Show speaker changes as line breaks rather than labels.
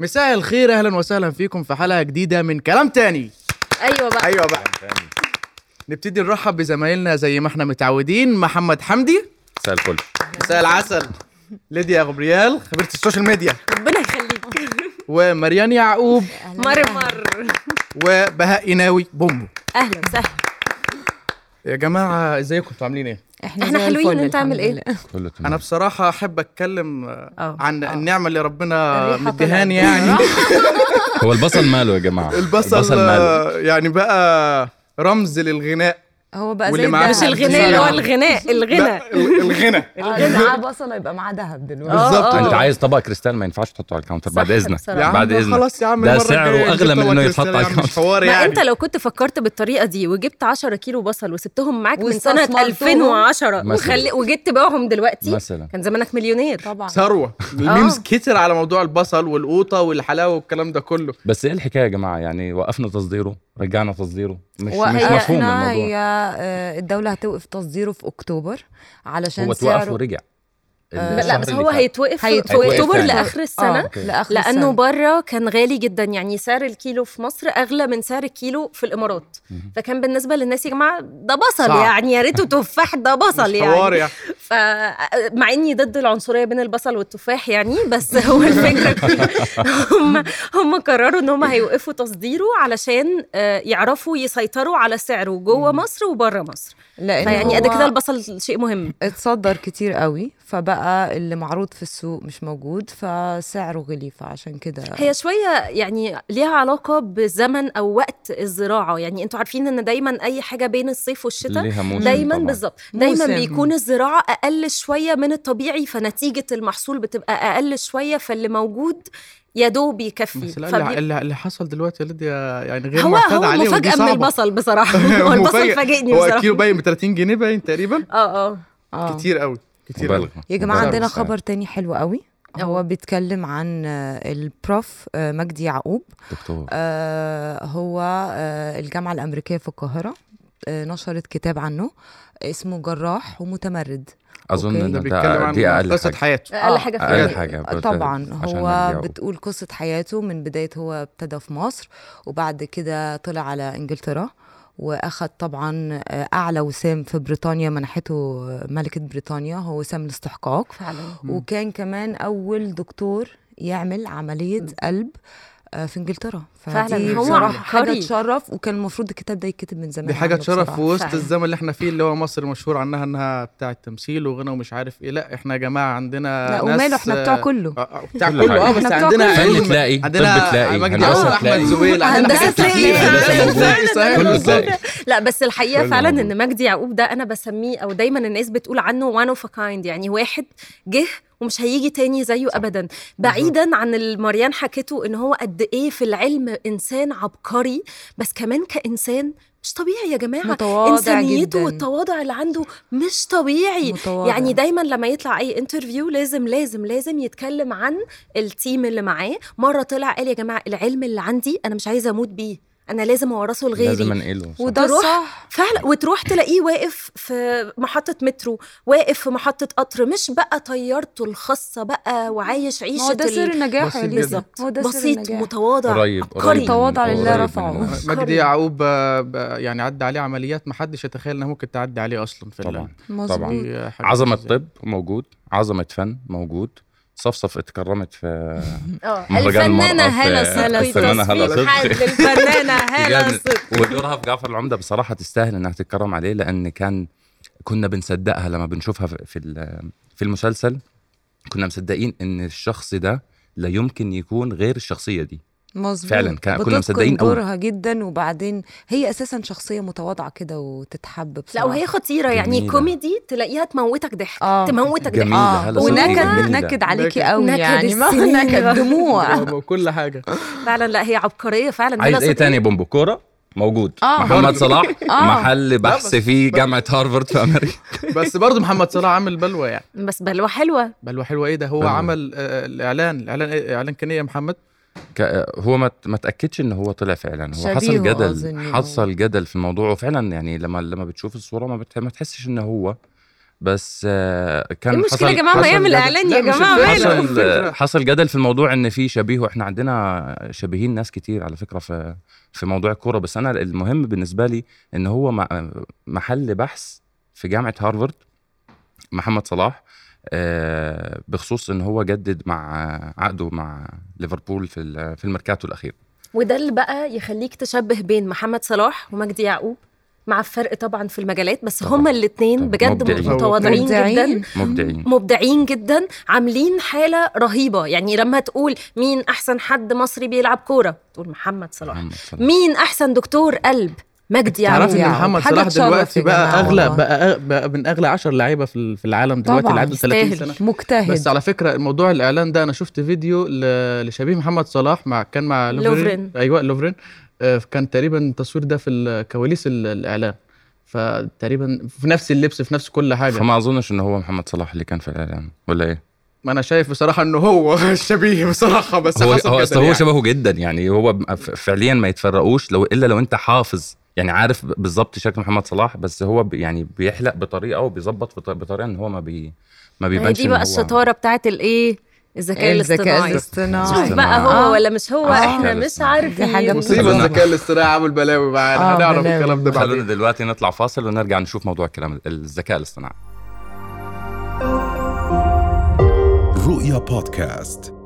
مساء الخير اهلا وسهلا فيكم في حلقه جديده من كلام تاني
ايوه بقى
ايوه بقى
نبتدي نرحب بزمايلنا زي ما احنا متعودين محمد حمدي
مساء الفل
مساء العسل ليديا غبريال
خبيره السوشيال ميديا
ربنا يخليك
ومريان يعقوب
مر مر
وبهاء ناوي بومبو
اهلا وسهلا
يا جماعه ازيكم انتوا عاملين ايه
احنا
زي
حلوين
الفل
انت عامل
الحمد
ايه
لله.
كله
انا
تمام
بصراحه احب اتكلم آه،
اه
عن النعمه اللي ربنا
الريحة
مديهاني
طلعت.
يعني
هو البصل ماله يا جماعه
البصل
ماله
آه، يعني بقى رمز للغناء
هو بقى
واللي
زي
معاه
الدهب.
مش الغناء اللي هو الغناء الغنى
لا، ال- الغنى
آه، اللي معاه بصله يبقى معاه ذهب دلوقتي
آه.
بالظبط.
انت عايز طبق كريستال ما ينفعش تحطه على الكاونتر بعد
صح،
اذنك
بصراحة.
بعد
آه. يا عم
اذنك
خلاص يا عم
ده
المرة
سعره
الجاية
أغلى
نجيب
من
طبق
إنه
كريستال
يتحط على
يا عم، مش
الكاونتر.
حوار
ما
يعني
انت لو كنت فكرت بالطريقه دي وجبت 10 كيلو بصل وسبتهم معاك من سنه
واستثمرتهم.
2010 وخلي وجيت تبيعهم دلوقتي
مثلا
كان زمانك مليونير
طبعا
ثروه الميمز كتر على موضوع البصل والقوطه والحلاوه والكلام ده كله
بس ايه الحكايه يا جماعه يعني وقفنا تصديره رجعنا تصديره مش مش
وهي
مفهوم
احنا هي
الموضوع
آه، الدولة هتوقف تصديره في اكتوبر علشان
هو اتوقف
سعره
ورجع
آه،
لا
الشهر
بس
اللي
هو
فات.
هيتوقف في
هيتوقف
اكتوبر
يعني.
لاخر السنه
آه،
أوكي.
لآخر
لانه
السنة.
بره كان غالي جدا يعني سعر الكيلو في مصر اغلى من سعر الكيلو في الامارات
مهم.
فكان بالنسبه للناس يا جماعه ده بصل
صعب.
يعني يا ريته تفاح ده بصل
مش حوار
يعني
يعني
ف مع اني ضد العنصريه بين البصل والتفاح يعني بس هو الفكره كلها هم هم قرروا ان هم هيوقفوا تصديره علشان آه، يعرفوا يسيطروا على سعره جوه مصر وبره مصر
يعني
لأن
فيعني
هو
قد كده البصل شيء مهم
اتصدر كتير قوي فبقى اللي معروض في السوق مش موجود فسعره غلي فعشان كده
هي شوية يعني ليها علاقة بزمن أو وقت الزراعة يعني أنتوا عارفين إن دايما أي حاجة بين الصيف والشتاء
ليها موسم
دايما
طبعاً.
بالظبط دايما
موسم.
بيكون الزراعة أقل شوية من الطبيعي فنتيجة المحصول بتبقى أقل شوية فاللي موجود يا دوب يكفي
بس لا،
فبي-
اللي, اللي, اللي حصل دلوقتي يا ليديا يعني غير
هو
معتاد
هو
عليه ودي
مفاجأة من
صعبة.
البصل بصراحة هو البصل
مفاجأ.
فاجئني
هو
بصراحة
كيلو باين ب 30 جنيه باين تقريبا
اه اه
آه.
كتير قوي كتير قوي
مبالغة.
يا جماعة
مبالغة.
عندنا خبر تاني حلو قوي
أوه.
هو بيتكلم عن آه، البروف آه، مجدي يعقوب
دكتور
آه، هو آه، الجامعة الأمريكية في القاهرة آه، نشرت كتاب عنه اسمه جراح ومتمرد
اظن
أوكي.
ان
ده
ده
بيتكلم
دي
عن
اقل
قصة
حاجه
حياته
أقل
آه.
حاجة في
اقل
الدنيا.
حاجه
طبعا
عشان
هو
نرجعه.
بتقول قصة حياته من بداية هو ابتدى في مصر وبعد كده طلع على إنجلترا وأخد طبعا آه، أعلى وسام في بريطانيا منحته آه، ملكة بريطانيا هو وسام الاستحقاق
فعلا
وكان كمان أول دكتور يعمل عملية قلب آه، في انجلترا
فعلا،
فدي
هو
بصراحة حاجه
عبقري.
تشرف وكان المفروض الكتاب ده يتكتب من زمان
دي حاجة
عنه
تشرف في
بصراحة.
وسط
فعلا.
الزمن اللي احنا فيه اللي هو مصر مشهور عنها انها بتاع التمثيل وغنى ومش عارف ايه لا احنا يا جماعة عندنا
لا
ناس
وماله احنا بتوع
آه،
كله
آه، آه، بتاع
كل
كله اه
حاجة.
بس
إحنا بتوع
عندنا
كله.
علم،
فن تلاقي، طب
عندنا
تلاقي،
مجدي
هندسة
يعقوب احمد
تلاقي.
زويل عندنا
هندسة
حاجات كتير.
تلاقي.
هندسة تلاقي صحيح
كله
بالظبط.
تلاقي.
لا بس الحقيقه
كله
فعلا
موجود.
ان مجدي يعقوب ده انا بسميه او دايما الناس بتقول عنه وان اوف كايند يعني واحد جه ومش هيجي تاني زيه ابدا بعيدا عن المريان حكيته ان هو قد ايه في العلم انسان عبقري بس كمان كانسان مش طبيعي يا جماعه
متواضع
انسانيته
جدا
والتواضع اللي عنده مش طبيعي
متواضع.
يعني دايما لما يطلع اي انترفيو لازم لازم لازم يتكلم عن التيم اللي معاه مره طلع قال يا جماعه العلم اللي عندي انا مش عايزه اموت بيه انا لازم اورثه لغيري
لازم انقله صح.
وده
تروح-
صح
فعلا وتروح تلاقيه واقف في محطة مترو واقف في محطة قطر مش بقى طيارته الخاصة بقى وعايش
ما هو
عيشة
ده سر
ال-
النجاح يا
بسيط
ليديا
بالظبط
هو ده سر
بسيط
النجاح.
متواضع
قريب
عبقري.
قريب
تواضع لله
قريب من-
رفعه.
مجدي
عبقري.
يعقوب آه، ب- يعني عدى عليه عمليات محدش يتخيل انها ممكن تعدي عليه اصلا في
طبعا
مظبوط
دي حاجة
عظمه
مش زي-
طب موجود عظمه فن موجود صفصف اتكرمت في
آه.
مهرجان المرأة
الفنانة
في-
هالة صدقي
الفنانة هالة
تصفيق
صدقي.
حاد للفنانة هالة
بجد.
صدقي
ودورها في جعفر العمده بصراحه تستاهل انها تتكرم عليه لان كان كنا بنصدقها لما بنشوفها في- في ال- في المسلسل كنا مصدقين ان الشخص ده لا يمكن يكون غير الشخصيه دي
مظبوط
فعلا كان- كنا
بتتقن
مصدقين أوي.
دورها جدا وبعدين هي اساسا شخصيه متواضعه كده وتتحب
لا
بصراحه
وهي خطيرة يعني
جميلة.
كوميدي تلاقيها تموتك ضحك
آه.
تموتك ضحك
جميلة
اه
هلا
ونكد
صدقي جميلة.
نكد عليكي
نكد-
قوي
نكد
يعني ما
السنين.
نكد دموع
آه، كل حاجة
فعلا لا هي عبقرية فعلا
عايز
هالة
ايه
صدقي.
تاني يا بومبو كوره موجود
إيه؟ آه.
محمد صلاح
آه.
محل بحث في جامعه هارفارد في امريكا
بس برضه محمد صلاح عامل بلوى يعني
بس بلوة حلوة
بلوى حلوة ايه ده هو
بلوى.
عمل آه، الاعلان الاعلان إيه؟ اعلان كان ايه يا محمد
ك- هو ما ما تاكدش ان هو طلع فعلا هو
شبيهه
حصل
أظن
جدل
يعني.
حصل جدل في الموضوع وفعلا يعني لما لما بتشوف الصوره ما, بتح... ما تحسش ان هو بس آه، كان
ايه المشكله يا
حصل-
جماعه ما
حصل
يعمل
جدل-
اعلان
لا،
يا
مش
جماعه
الفكرة.
ماله
أيوة، الفكرة.
حصل حصل جدل في الموضوع ان في شبيه واحنا عندنا شبيهين ناس كتير على فكره في في موضوع الكوره بس انا المهم بالنسبه لي ان هو م- محل بحث في جامعه هارفارد محمد صلاح آه، بخصوص ان هو جدد مع عقده مع ليفربول في ال- في الميركاتو الاخير
وده اللي بقى يخليك تشبه بين محمد صلاح ومجدي يعقوب مع الفرق طبعا في المجالات بس
طبعاً.
هما الاثنين
طبعاً.
بجد
مبدعين.
متواضعين جدا
مبدعين
مبدعين جدا عاملين حاله رهيبه يعني لما تقول مين احسن حد مصري بيلعب كوره تقول محمد صلاح
محمد صلاح.
مين احسن دكتور قلب مجدي
تعرفي
يعقوب
ان
يعني
محمد
حاجة
صلاح
تشرف
دلوقتي
يا
بقى
جماعة
اغلى
والله.
بقى, أغ- بقى من اغلى 10 لعيبه في ال- في العالم دلوقتي
طبعاً،
اللي عنده 30
يستاهل.
سنه
مجتهد
بس على فكره موضوع الاعلان ده انا شفت فيديو ل- لشبيه محمد صلاح مع كان مع لوفرين,
لوفرين.
ايوه لوفرين آه، كان تقريبا التصوير ده في ال- كواليس ال- الاعلان فتقريبا في نفس اللبس في نفس كل حاجه
فما اظنش ان هو محمد صلاح اللي كان في الاعلان ولا ايه
ما انا شايف بصراحه ان هو شبيه بصراحه بس
هو
حصل
هو
كده
أصل هو
يعني.
شبهه جدا يعني هو ب- ف- فعليا ما يتفرقوش لو الا لو انت حافظ يعني عارف ب- بالظبط شكل محمد صلاح بس هو ب- يعني بيحلق بطريقه وبيظبط بط- بطريقه ان هو ما بي ما
ما هي
بيبانش
يعني دي
إن
بقى
هو-
الشطاره بتاعت الايه الذكاء الاصطناعي شوف
الاصطناعي
بقى
الاصطناعي.
هو ولا مش هو
آه.
احنا مش
الاصطناعي.
عارفين
دي حاجة
مصيبه
خلونا-
الذكاء الاصطناعي عامل بلاوي بقى
آه،
هنعرف
بلاوي.
الكلام ده
خلونا
بعدين
دلوقتي نطلع فاصل ونرجع نشوف موضوع الكلام الذكاء الاصطناعي
رؤيا بودكاست